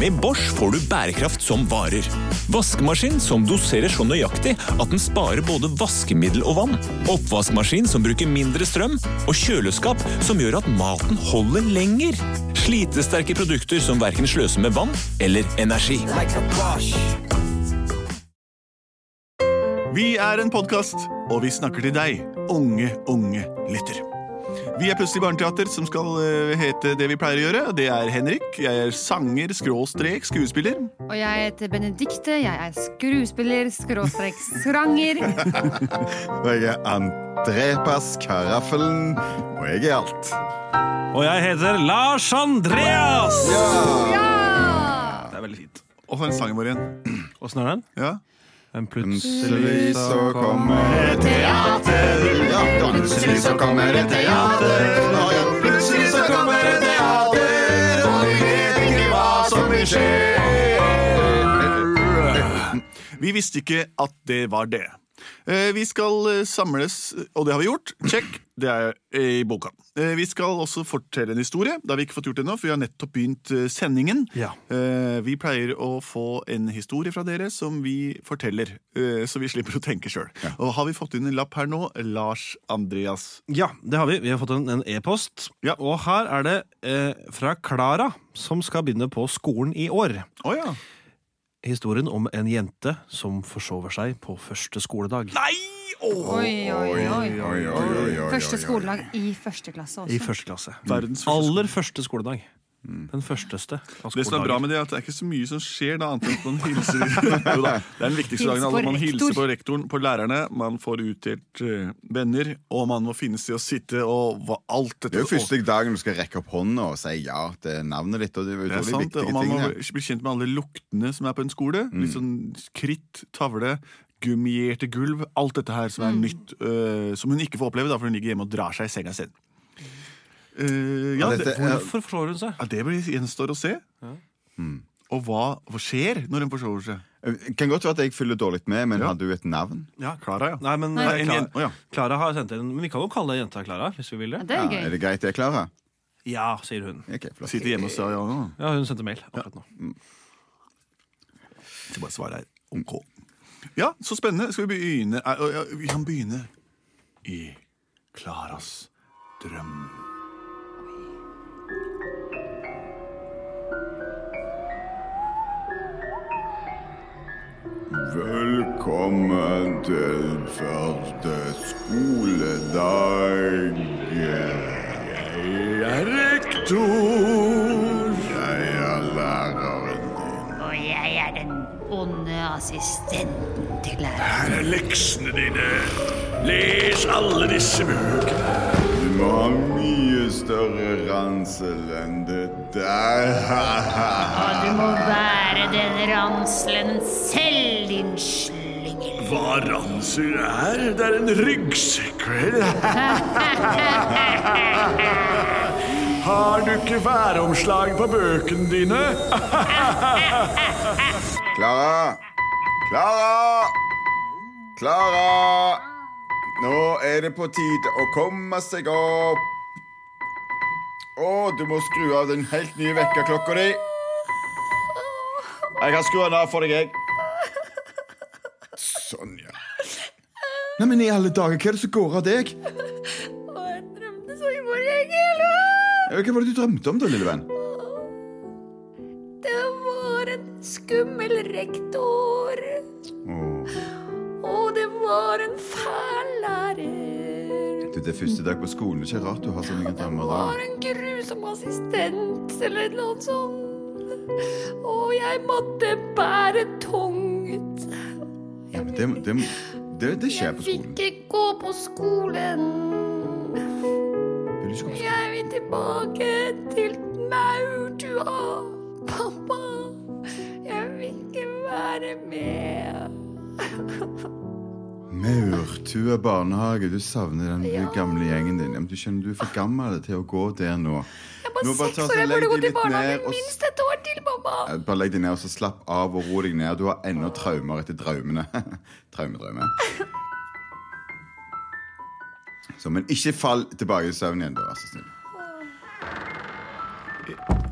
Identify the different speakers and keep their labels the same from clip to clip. Speaker 1: Med Bosch får du bærekraft som varer. Vaskemaskin som doserer så nøyaktig at den sparer både vaskemiddel og vann. Oppvaskmaskin som bruker mindre strøm. Og kjøleskap som gjør at maten holder lenger. Slitesterke produkter som verken sløser med vann eller energi.
Speaker 2: Vi er en podkast, og vi snakker til deg, unge, unge lytter. Vi er Plutselig barneteater, som skal eh, hete det vi pleier å gjøre. Det er Henrik. Jeg er sanger, skråstrek, skuespiller.
Speaker 3: Og jeg heter Benedikte, jeg er skuespiller, skråstrek skranger.
Speaker 4: Og jeg er Andrepas Karaffelen, og jeg er alt.
Speaker 5: Og jeg heter Lars Andreas!
Speaker 3: Ja!
Speaker 5: Det er veldig fint.
Speaker 2: Og så er det sangen vår igjen.
Speaker 5: Åssen er den?
Speaker 2: Ja.
Speaker 5: En plutselig
Speaker 4: Plutselig så kommer et teater. Ja, da plutselig så kommer et teater. Ja, ja, plutselig så kommer et teater, og vi vet ikke hva som vil skje.
Speaker 2: Vi visste ikke at det var det. Eh, Vi skal eh, samles, og det har vi gjort. Check. Det er eh, i boka. Eh, Vi skal også fortelle en historie. Det har vi ikke fått gjort ennå, for vi har nettopp begynt eh, sendingen.
Speaker 5: Ja.
Speaker 2: Eh, Vi pleier å få en historie fra dere som vi forteller, eh, så vi slipper å tenke sjøl. Og har vi fått inn en lapp her nå? Lars Andreas.
Speaker 5: Ja, det har vi. Vi har fått en en e-post.
Speaker 2: Ja.
Speaker 5: Og her er det eh, fra Klara, som skal begynne på skolen i år.
Speaker 2: Å ja.
Speaker 5: Historien om en jente som forsover seg på første skoledag.
Speaker 3: Oi, oi, oi.
Speaker 4: Oi, oi, oi, oi, oi.
Speaker 3: Første skoledag i første klasse
Speaker 5: I
Speaker 3: også.
Speaker 5: første klasse.
Speaker 2: Mm. Verdens første Mm.
Speaker 5: Aller første skoledag. Den førsteste. av
Speaker 2: Det som er bra
Speaker 5: skoledager.
Speaker 2: med det, er at det er ikke så mye som skjer da, annet enn at man hilser jo da, Det er den viktigste dagen.
Speaker 3: Hils på
Speaker 2: alle. Man
Speaker 3: rektor.
Speaker 2: hilser på rektoren, på lærerne, man får utdelt eh, venner, og man må finne seg å sitte og hva, alt dette.
Speaker 4: Det er jo
Speaker 2: og,
Speaker 4: første dagen du skal rekke opp hånda og si ja til navnet ditt. og det
Speaker 2: det
Speaker 4: er
Speaker 2: er
Speaker 4: utrolig
Speaker 2: sant, det,
Speaker 4: viktige
Speaker 2: og man må
Speaker 4: tingene. Mm.
Speaker 2: bli kjent med alle luktene som er på en skole. Litt sånn kritt, tavle, gummierte gulv, alt dette her som er
Speaker 4: Mm.
Speaker 2: nytt, eh, som hun ikke får oppleve, da, for hun ligger hjemme og drar seg i senga sin. Eh, ja,
Speaker 4: Og
Speaker 2: det,
Speaker 4: dette er-
Speaker 5: Hvorfor forsover hun seg?
Speaker 2: ja, det blir, gjenstår å se. Og hva, hva skjer når hun forsover seg?
Speaker 4: Det Eh, kan godt være at jeg følger dårlig med, men
Speaker 2: Ja.
Speaker 4: hadde hun et navn?
Speaker 2: Ja, Klara, ja.
Speaker 5: Nei, men
Speaker 3: Nei.
Speaker 5: eh,
Speaker 2: Nei, en
Speaker 5: Klara-
Speaker 2: jen- å ja.
Speaker 5: Klara har sendt inn Men vi kan jo kalle jenta Klara, hvis vi vil
Speaker 3: Ja,
Speaker 5: det.
Speaker 3: Det
Speaker 4: Ja,
Speaker 3: er
Speaker 4: er
Speaker 3: gøy.
Speaker 4: det greit, det, Klara?
Speaker 5: Ja, sier hun.
Speaker 4: Ok, flott.
Speaker 2: Sitter hjemme og sier ja nå.
Speaker 5: Ja, hun sendte mail akkurat nå.
Speaker 2: Så bare svaret er OK. Ja, så spennende. Skal vi begynne Eh, ja, Vi kan begynne i Klaras drøm.
Speaker 4: Velkommen til første skoledag. Jeg er rektor. Jeg er læreren din.
Speaker 6: Og jeg er den onde assistenten til læreren.
Speaker 7: Her er leksene dine. Les alle disse bøkene.
Speaker 4: Du må ha mye større ransel enn det der.
Speaker 6: Og du må være den ranselen selv, din slyngel.
Speaker 7: Hva ranser er? Det er en ryggsekk, vel? Har du ikke væromslag på bøkene dine?
Speaker 4: Klara! Klara! Klara! Nå er det på tide å komme seg opp. Å, du må skru av den helt nye vekkerklokka di. Jeg kan skru den av for deg, jeg. Sånn, ja. Nei, men i alle dager, hva er det som går av deg?
Speaker 6: Jeg drømte så innmari engel.
Speaker 4: Hva var det du drømte om, da, lille venn?
Speaker 6: Det var en skummel rektor.
Speaker 4: Åh,
Speaker 6: Og det var en fæl lærer.
Speaker 4: du, det er første dag på skolen. Det er ikke rart du har så mye drømmer da.
Speaker 6: var en grusom assistent eller noe sånt. Og jeg måtte bære tungt.
Speaker 4: Ja, men det, det, det, det skjer på skolen.
Speaker 6: Fikk ikke gå på skolen.
Speaker 4: Vil du ikke gå på skolen?
Speaker 6: Jeg vil tilbake til maurdua. Pappa, jeg vil ikke være med.
Speaker 4: Maurtue barnehage. Du savner den gamle gjengen din. Ja, Men du skjønner, du er for gammel til å gå der nå.
Speaker 6: Jeg er bare
Speaker 4: Nå bare
Speaker 6: seks
Speaker 4: ta
Speaker 6: år,
Speaker 4: så
Speaker 6: jeg
Speaker 4: legg
Speaker 6: burde gå
Speaker 4: de
Speaker 6: til
Speaker 4: litt ned
Speaker 6: barnehagen
Speaker 4: og s-
Speaker 6: minst et år til, mamma.
Speaker 4: Eh, Bare legg deg ned og så slapp av og ro deg ned. Du har ennå traumer etter traumene. traume, traume. Så, men ikke fall tilbake i søvn igjen, da, vær så snill.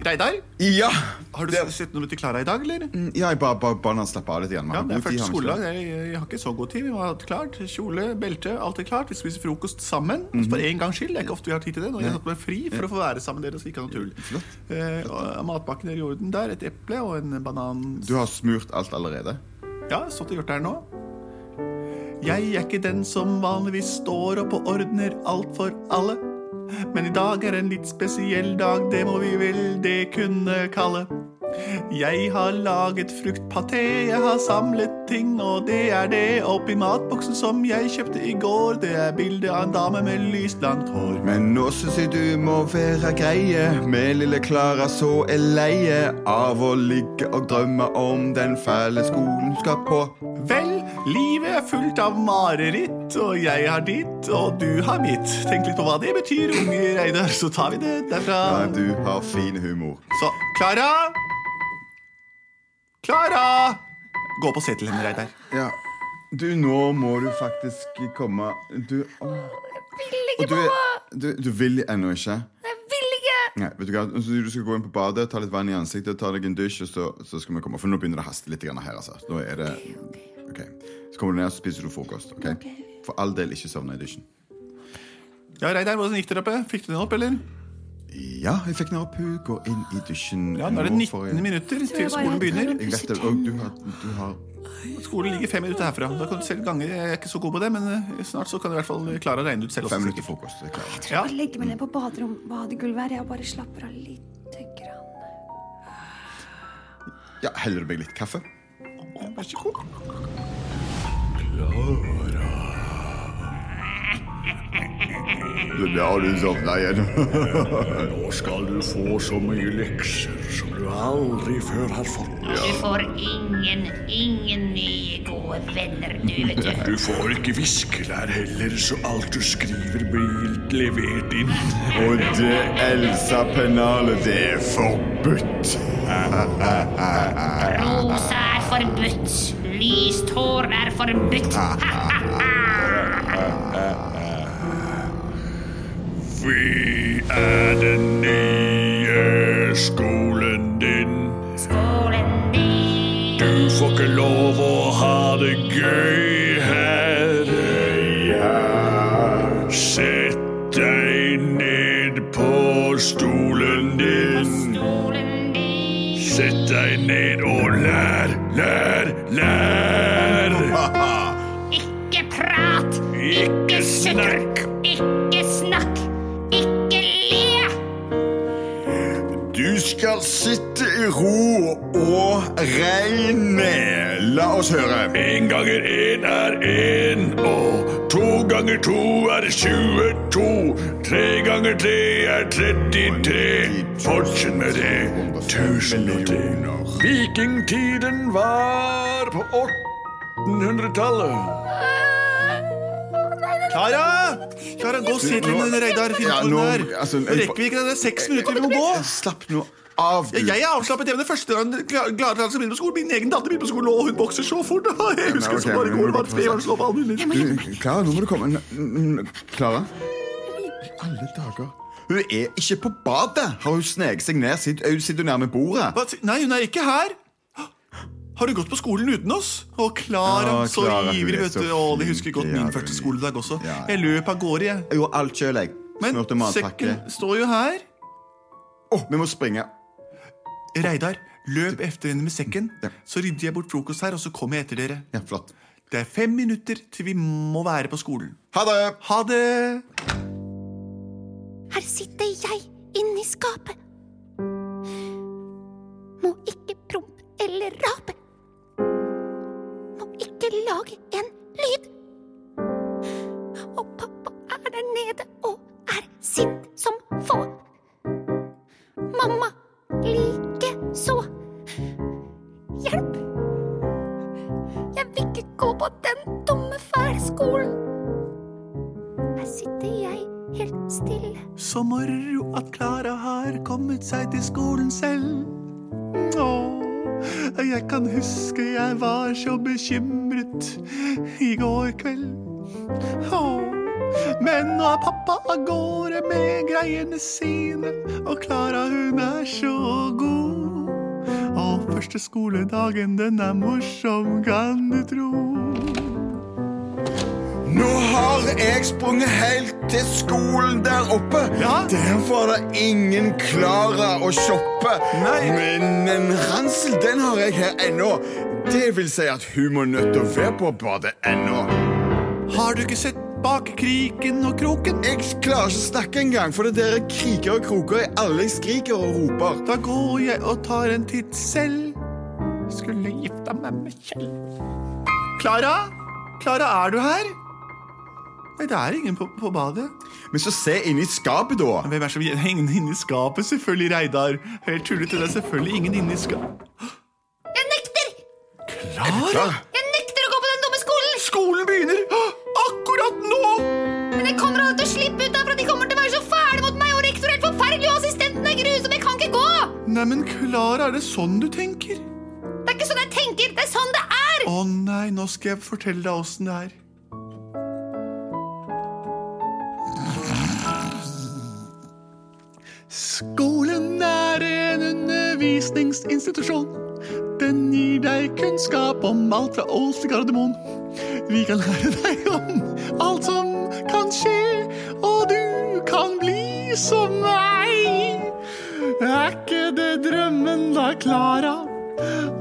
Speaker 2: Reidar,
Speaker 4: Ja!
Speaker 2: har du
Speaker 4: Det-
Speaker 2: sett noe til Klara i dag, eller?
Speaker 4: Ja, jeg bare, bare, bare slappe av litt igjen.
Speaker 2: Mm.
Speaker 4: Vi
Speaker 2: Ja,
Speaker 4: har
Speaker 2: det er
Speaker 4: god tid,
Speaker 2: første
Speaker 4: har vi ikke
Speaker 2: skoledag. Jeg, jeg har ikke så god tid. Vi har hatt klart. Kjole, belte, alt er klart. Vi spiser frokost sammen. altså For en gangs skyld. Det er ikke ofte vi har tid til det. Nå har jeg tatt meg fri for å få være sammen med dere, så ikke ha noe tull. Eh, og matpakken er i orden der. Et eple og en banan.
Speaker 4: det? Du har smurt alt allerede.
Speaker 2: Ja, stått og gjort det her nå. Jeg er ikke den som vanligvis står opp og ordner alt for alle. Men i dag er en litt spesiell dag, det må vi vel det kunne kalle. Jeg har laget fruktpaté, jeg har samlet ting, og det er det. Oppi matboksen som jeg kjøpte i går, det er bilde av en dame med lyst langt hår.
Speaker 4: Men nå syns jeg du må være greie med lille Klara, så er leie av å ligge og drømme om den fæle skolen skal på.
Speaker 2: Vel, livet er fullt av mareritt, og jeg har ditt, og du har mitt. Tenk litt på hva det betyr, unge Reidar, så tar vi det derfra.
Speaker 4: Ja, du har fin humor.
Speaker 2: Så, Klara! Klara! Gå opp og se til henne, Reidar.
Speaker 4: Ja. Du, nå må du faktisk komme Du åh.
Speaker 6: Vil
Speaker 4: Og
Speaker 6: ikke,
Speaker 4: du, er-
Speaker 6: mamma!
Speaker 4: du, du vil ennå ikke?
Speaker 6: Jeg vil ikke!
Speaker 4: Nei, vet Du hva? Så du skal gå inn på badet, ta litt vann i ansiktet, ta deg en dusj, og så, så skal vi komme. For nå begynner det å haste litt grann her. altså. Nå er det... Ok. Så kommer du ned og spiser du frokost. ok? For all del, ikke sovne i dusjen.
Speaker 2: Ja, Reidar, hvordan gikk dere oppe? Fikk du den opp, eller?
Speaker 4: Ja, jeg fikk den opp. Hun går inn i dusjen.
Speaker 2: Ja, Nå er det
Speaker 4: nå
Speaker 2: 19
Speaker 4: for-
Speaker 2: minutter
Speaker 6: jeg
Speaker 2: til
Speaker 6: bare
Speaker 2: skolen begynner.
Speaker 4: Jeg vet det, og du har, du har
Speaker 2: Skolen ligger fem minutter herfra. Da kan du selv gange. Jeg er ikke så god på det, men eh, snart så kan du i hvert fall Klara regne ut selv.
Speaker 4: fem
Speaker 2: også.
Speaker 4: minutter frokost. Det klarer jeg.
Speaker 6: Jeg
Speaker 2: Ja.
Speaker 6: bare legger meg ned på baderom, badegulvet her. Jeg bare slapper av lite grann.
Speaker 4: Ja, Heller du meg litt kaffe?
Speaker 2: Vær så god.
Speaker 4: Ja, du sovna igjen.
Speaker 7: Nå skal du få så mye lekser som du aldri før har fått.
Speaker 8: Du får ingen, ingen nye gode venner, du, vet du.
Speaker 7: Du får ikke viskelær heller, så alt du skriver blir levert inn.
Speaker 4: Og det Elsa-pennalet, det er forbudt.
Speaker 8: Rosa er forbudt. Lyst hår er forbudt.
Speaker 7: Vi er den nye skolen din.
Speaker 8: Skålen din.
Speaker 7: Du får ikke lov å ha det gøy her. Sett deg ned på stolen din.
Speaker 8: Stolen din.
Speaker 7: Sett deg ned og lær, lær, lær.
Speaker 8: Ikke prat.
Speaker 7: Ikke
Speaker 8: sutter.
Speaker 7: snakk.
Speaker 8: Ikke snakk. Ikke le.
Speaker 4: Du skal sitte i ro og regne. La oss høre.
Speaker 7: En ganger en er en, og to ganger to er 22. Tre ganger tre er 33. Fortsett med det. Tusen og til. Vikingtiden var på 1800-tallet.
Speaker 2: Klara! Klara, gå og se til henne, Reidar. Finn
Speaker 4: Ja,
Speaker 2: ut hvor
Speaker 4: nå-
Speaker 2: den er.
Speaker 4: altså,
Speaker 2: Nå rekker vi ikke det. Det er seks minutter vi må gå.
Speaker 4: Slapp nå av, du.
Speaker 2: Ja, jeg er avslappet hjemme. Første gang Kla- Klara Klara skal begynne på skolen. Min egen datter begynner på skolen, og hun vokser så fort. Jeg husker
Speaker 4: ok,
Speaker 2: så bare
Speaker 4: men
Speaker 2: i går
Speaker 4: nå må du
Speaker 2: var
Speaker 4: bare
Speaker 2: tre
Speaker 4: få
Speaker 2: år slå på alle mulige.
Speaker 4: Du, Klara, nå må du komme. N- n- n- Klara? I alle dager. Hun er ikke på badet. Har hun sneket seg ned? Sitt- Hun sitter jo nærme bordet.
Speaker 2: Hva? Nei, hun er ikke her. Har du gått på skolen uten oss? Å, Klara,
Speaker 4: Å,
Speaker 2: så
Speaker 4: Clara, hun
Speaker 2: ivrig,
Speaker 4: er
Speaker 2: vet
Speaker 4: så
Speaker 2: du. Å, det husker jeg godt
Speaker 4: flink,
Speaker 2: min
Speaker 4: ja,
Speaker 2: første
Speaker 4: hun-
Speaker 2: skoledag også.
Speaker 4: Ja, ja.
Speaker 2: Jeg løp av gårde, jeg.
Speaker 4: Jeg gjorde alt sjøl, jeg.
Speaker 2: Men
Speaker 4: Smurte matpakke.
Speaker 2: sekken står jo her.
Speaker 4: Åh, vi må springe.
Speaker 2: Reidar, løp efter henne med sekken.
Speaker 4: Ja.
Speaker 2: Så rydder jeg bort frokost her, og så kommer jeg etter dere.
Speaker 4: Ja, flott.
Speaker 2: Det er fem minutter til vi må være på skolen.
Speaker 4: Ha det!
Speaker 2: Ha det!
Speaker 9: Her sitter jeg inni skapet. Må ikke prompe eller rape. Må ikke lage en lyd. Og pappa er der nede og er sint som få. Mamma like så. Hjelp! Jeg vil ikke gå på den dumme fælskolen. Her sitter jeg helt stille.
Speaker 2: Så moro at Klara har kommet seg til skolen selv. Åh, jeg kan huske jeg var så bekymret i går kveld. Åh, Men nå er pappa av gårde med greiene sine, og Klara hun er så god. Og første skoledagen, den er morsom, kan du tro.
Speaker 4: Nå har jeg sprunget helt til skolen der oppe.
Speaker 2: Ja.
Speaker 4: Der var det ingen Klara å shoppe.
Speaker 2: Nei.
Speaker 4: Men en ransel, den har jeg her ennå. Det vil si at hun må nødt til å være på badet ennå.
Speaker 2: Har du ikke sett bak kriken og kroken?
Speaker 4: Jeg klarer ikke å snakke engang, for det der er kriker og kroker i alle jeg skriker og roper.
Speaker 2: Da går jeg og tar en titt selv. Skulle gifta meg med Kjell. Klara? Klara, er du her? Nei, det er ingen på, på badet.
Speaker 4: Men så se inni skapet, da.
Speaker 2: Hvem er som henger inne i skapet? Selvfølgelig Reidar. Helt tullete. Det er selvfølgelig ingen inne i skapet.
Speaker 9: Jeg nekter!
Speaker 2: Klara?
Speaker 4: Klara,
Speaker 9: Jeg nekter å gå på den dumme skolen!
Speaker 2: Skolen begynner Åh, akkurat nå!
Speaker 9: Men jeg kommer aldri til å slippe ut derfra. De kommer til å være så fæle mot meg, og rektor er helt forferdelig, og assistenten er grusom. Jeg kan ikke gå!
Speaker 2: Neimen, Klara, er det sånn du tenker?
Speaker 9: Det er ikke sånn jeg tenker. Det er sånn det er!
Speaker 2: Å nei, nå skal jeg fortelle deg åssen det er. Skolen er en undervisningsinstitusjon. Den gir deg kunnskap om alt fra Ås til Gardermoen. Vi kan lære deg om alt som kan skje, og du kan bli som meg. Er ikke det drømmen da, Klara?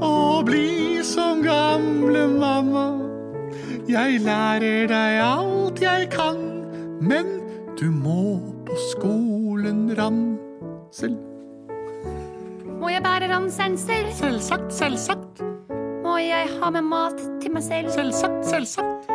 Speaker 2: Å bli som gamle mamma. Jeg lærer deg alt jeg kan, men du må på skolen, Ransel.
Speaker 9: Må jeg bære ranselen selv?
Speaker 2: Selvsagt, selvsagt.
Speaker 9: Må jeg ha med mat til meg selv?
Speaker 2: Selvsagt, selvsagt.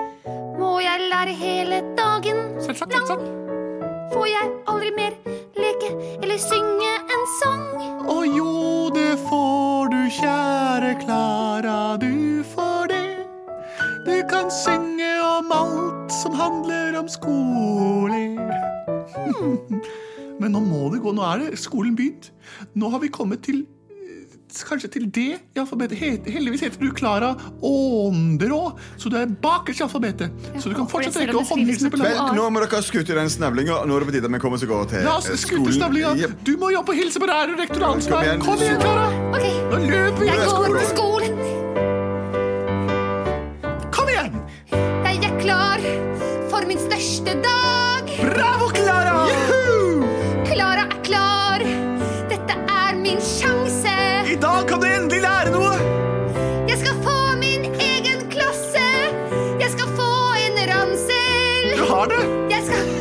Speaker 9: Må jeg lære hele dagen
Speaker 2: Selvsagt,
Speaker 9: lang?
Speaker 2: selvsagt.
Speaker 9: Får jeg aldri mer leke eller synge en sang?
Speaker 2: Å jo, det får du, kjære Klara, du får det. Du kan synge om alt som handler om skole. Hmm. Men nå må det gå, nå er det skolen begynt. Nå har vi kommet til eh, Kanskje til det i alfabetet. He- Heldigvis heter du Klara Ånderå, så du er bakerst i alfabetet. Så du kan fortsatt
Speaker 3: jeg ser om det
Speaker 2: rekke å
Speaker 3: skrives
Speaker 2: håndhilse på
Speaker 4: vel,
Speaker 2: landet.
Speaker 4: nå må dere skutte den snavlinga. Nå er det på tide at vi kommer oss av gårde til
Speaker 2: La oss
Speaker 4: eh,
Speaker 2: skutte snavlinga.
Speaker 4: Jep.
Speaker 2: Du må jobbe og hilse på læreren og rektoralen. som
Speaker 4: Kom
Speaker 2: er-
Speaker 4: igjen.
Speaker 2: Kom igjen, Klara!
Speaker 9: Ok,
Speaker 2: Nå løper vi!
Speaker 9: jeg
Speaker 4: Jeg
Speaker 9: går
Speaker 4: skal gå.
Speaker 9: til skolen.
Speaker 2: Kom igjen!
Speaker 9: Jeg er klar for min største dag.
Speaker 2: Bravo, Klara!
Speaker 9: Klara er klar. Dette er min sjanse.
Speaker 2: I dag kan du endelig lære noe!
Speaker 9: Jeg skal få min egen klasse. Jeg skal få en
Speaker 2: Du
Speaker 9: ransel.
Speaker 2: har det!
Speaker 9: Jeg skal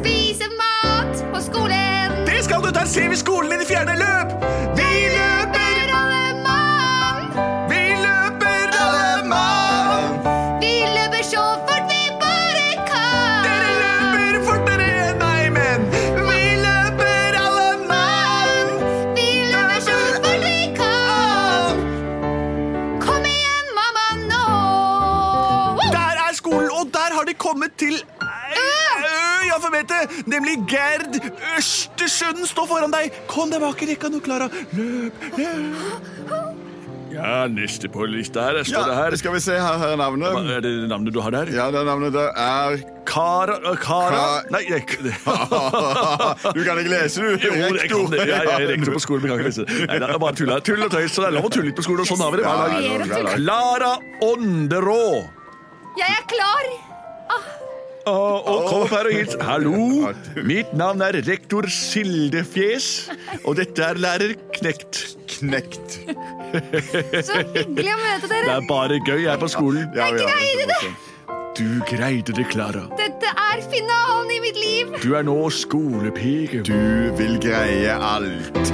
Speaker 9: spise mat på skolen.
Speaker 2: Det skal du! Der ser vi skolen i det fjerne løp! Vi løper,
Speaker 9: Bærer alle mann.
Speaker 2: vi løper, alle mann!
Speaker 9: Vi løper så fort vi bare kan.
Speaker 2: Dere løper fortere enn meg, men vi løper, alle mann!
Speaker 9: Vi løper så fort vi kan. Kom igjen, mamma, nå.
Speaker 2: Der er skolen, og der har de kommet til eh, Ø i alfabetet, nemlig Gerd Ørstesund står foran deg. Kom deg bak i rekka nå, Klara. Løp, løp.
Speaker 7: Ja, neste på lista her. Står
Speaker 4: Ja,
Speaker 7: det her.
Speaker 4: skal vi se her, her er
Speaker 7: Hva
Speaker 4: navnet.
Speaker 7: er det navnet du har der?
Speaker 4: Ja, det navnet der er
Speaker 7: Kara, øh, Kara.
Speaker 4: Ka-
Speaker 7: Nei, jeg, det,
Speaker 4: Du kan ikke lese, du.
Speaker 7: jo, jeg kan det. Jeg, jeg er rektor på skolen, men jeg kan ikke lese det. Nei, det er bare tull. her. Tull og tøys. Så det er lov å tulle litt på skolen, og sånn har vi det hver dag.
Speaker 4: Ja, det er bra, da.
Speaker 7: Klara Ånderå.
Speaker 9: Jeg er klar.
Speaker 7: Og, og kom opp her og hils. Hallo, mitt navn er rektor Sildefjes, og dette er lærer Knekt.
Speaker 4: Knekt.
Speaker 3: Så hyggelig å møte
Speaker 7: Det
Speaker 3: dere.
Speaker 7: er bare gøy her på skolen.
Speaker 4: Ja, vi har
Speaker 9: greide det.
Speaker 7: Du greide det, Klara.
Speaker 9: Dette er finalen i mitt liv.
Speaker 7: Du er nå skolepike.
Speaker 4: Du vil greie alt.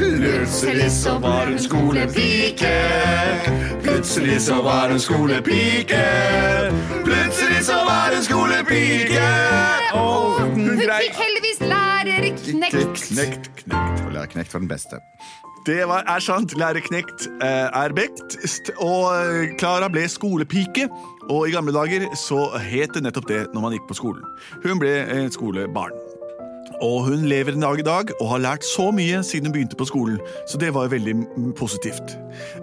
Speaker 4: Plutselig så var hun skolepike. Plutselig så var hun skolepike. Plutselig så var hun skolepike. Og hun
Speaker 9: Hun
Speaker 4: grei...
Speaker 9: fikk heldigvis lærer knekt.
Speaker 4: Knekt, knekt. Og lærer Knekt var den beste.
Speaker 2: Det var, er sant. Lærerknekt eh, er bekt. st- Og eh, Klara ble skolepike. Og i gamle dager så het det nettopp det når man gikk på skolen. Hun ble eh, skolebarn. Og hun lever en dag i dag og har lært så mye siden hun begynte på skolen. Så det var jo veldig mm, positivt.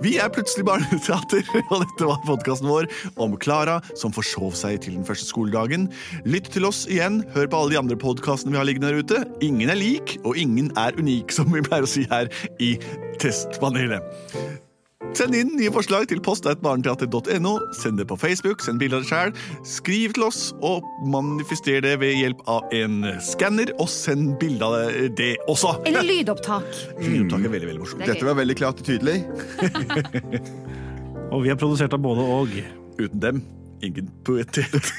Speaker 2: Vi er plutselig barneteater, og dette var podkasten vår om Klara som forsov seg til den første skoledagen. Lytt til oss igjen. Hør på alle de andre podkastene vi har liggende der ute. Ingen er lik, og ingen er unik, som vi pleier å si her i Testpanelet. Send inn nye forslag til post.barneteater.no. Send det på Facebook, send bilde av deg sjæl. Skriv til oss, og manifester det ved hjelp av en skanner. Og send bilde av det også.
Speaker 3: Eller lydopptak.
Speaker 2: Lydopptaket er veldig, veldig morsomt.
Speaker 3: Det er
Speaker 4: Dette
Speaker 3: gøy.
Speaker 4: var veldig klart og tydelig.
Speaker 5: Og vi er produsert av både og.
Speaker 2: Uten dem, ingen poetet.